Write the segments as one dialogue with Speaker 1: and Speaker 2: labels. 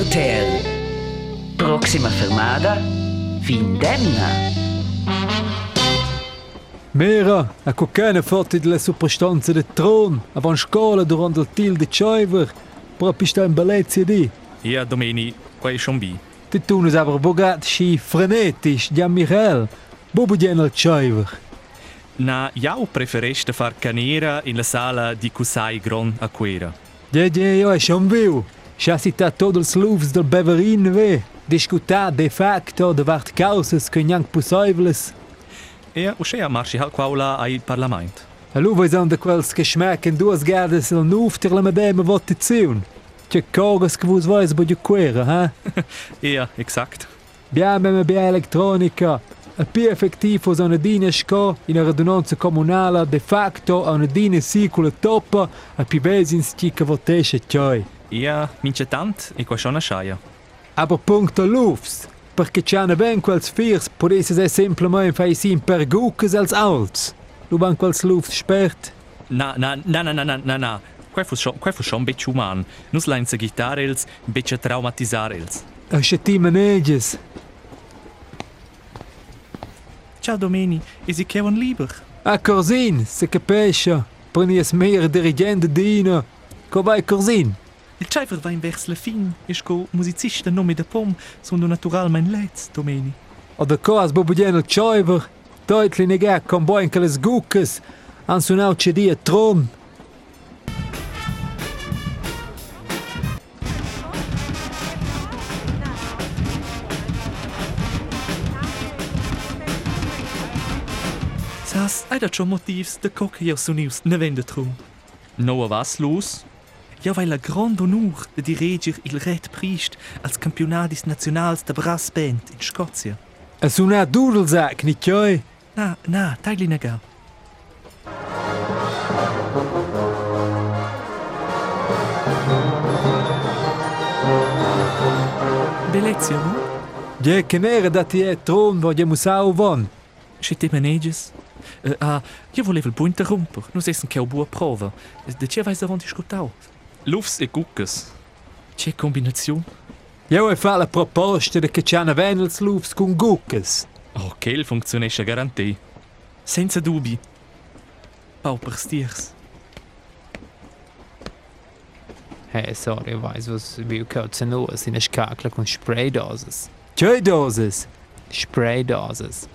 Speaker 1: RTL. Proxima fermada, Vindenna.
Speaker 2: Mera, a kokenne forti de la superstanze de Tron, avan scola durant il til de Chiver, pra pista in ballet CD.
Speaker 3: Ia domeni quai shombi.
Speaker 2: Ti tunes aber bogat și frenetic, de Mirel, bobu gen al Chiver.
Speaker 3: Na iau prefereste far canera in la sala di Cusai Gron a Quera.
Speaker 2: De de io e schon viu. Și a citat totul sluvs del Beverin ve, discutat de facto de vart causes că nianc pusoivles,
Speaker 3: Ia ușea marși hal quaula ai parlament.
Speaker 2: Hallo was an de kwels geschmack en duas gardes an ufterle me dem wat te ziun. Tje kogas kwus weis bo de quere, ha?
Speaker 3: Ia, exact.
Speaker 2: Bia me me bia elektronica. A E pi effektiv was an dine e sco in a radunanza comunala de facto an dine sicula toppa a e pi bezin stica votesce e tjoi.
Speaker 3: Ia mince tant e quai shona shaia.
Speaker 2: Aber punto e lufs. Perché c'è una ben quels fiers, potesse se semplicemente fai sin per gucas als alts. Du ban quels lufs spert.
Speaker 3: Na, na, na, na, na, na, na, na. Quai fu schon, quai fu schon becce uman. Nus lainza gitarels, becce traumatisarels.
Speaker 2: Asce e ti maneges.
Speaker 3: Ciao domeni, e si chevon liber.
Speaker 2: A Corzin, se capisce, prendi es meer dirigente dina. Co vai Corzin?
Speaker 3: Il Cifer va in vers la fin, ich go musicista nome de pom, sono natural mein Letz, domeni.
Speaker 2: O da coas bobudiano choiver, deutli nega con boin che les gucas, an sunau cedi a tron.
Speaker 3: Sas, hai da schon motivs, de coque io sono ius, ne vende trum. No a was los? Ja, weil la grand honor de diriger il red priest als campionatis nationals der Brassband in Scozia.
Speaker 2: A suna dudelsack, ni choi.
Speaker 3: Na, na, tagli nega. Bellezio, no?
Speaker 2: Die canere dati e tron, vo die musau von.
Speaker 3: Scete meneges? Uh, ah, io volevo il buon interromper, non sei che ho buona prova. De ce vai avanti scutau? Lufs e gucches. Ce combinazione?
Speaker 2: Io e fa la proposta de che c'hanno venels lufs con gucas.
Speaker 3: Oh, quel funzionisce garantì. Senza dubbi. Pauper stiers.
Speaker 4: Hey, sorry, ich weiß, was wir gehört zu nur. Es sind eine Skakel und Spraydosis.
Speaker 2: Choi doses.
Speaker 4: Spraydosis.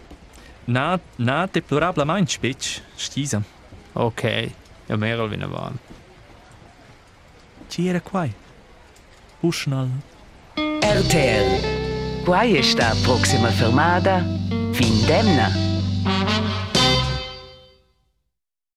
Speaker 3: Na, na, deplorabla mein Spitz. Stisa.
Speaker 4: Okay. Ja, mehr als wir waren.
Speaker 3: Ci era quai. Buschnall.
Speaker 1: RTL. Quai está Proxima fermada, Vindenna.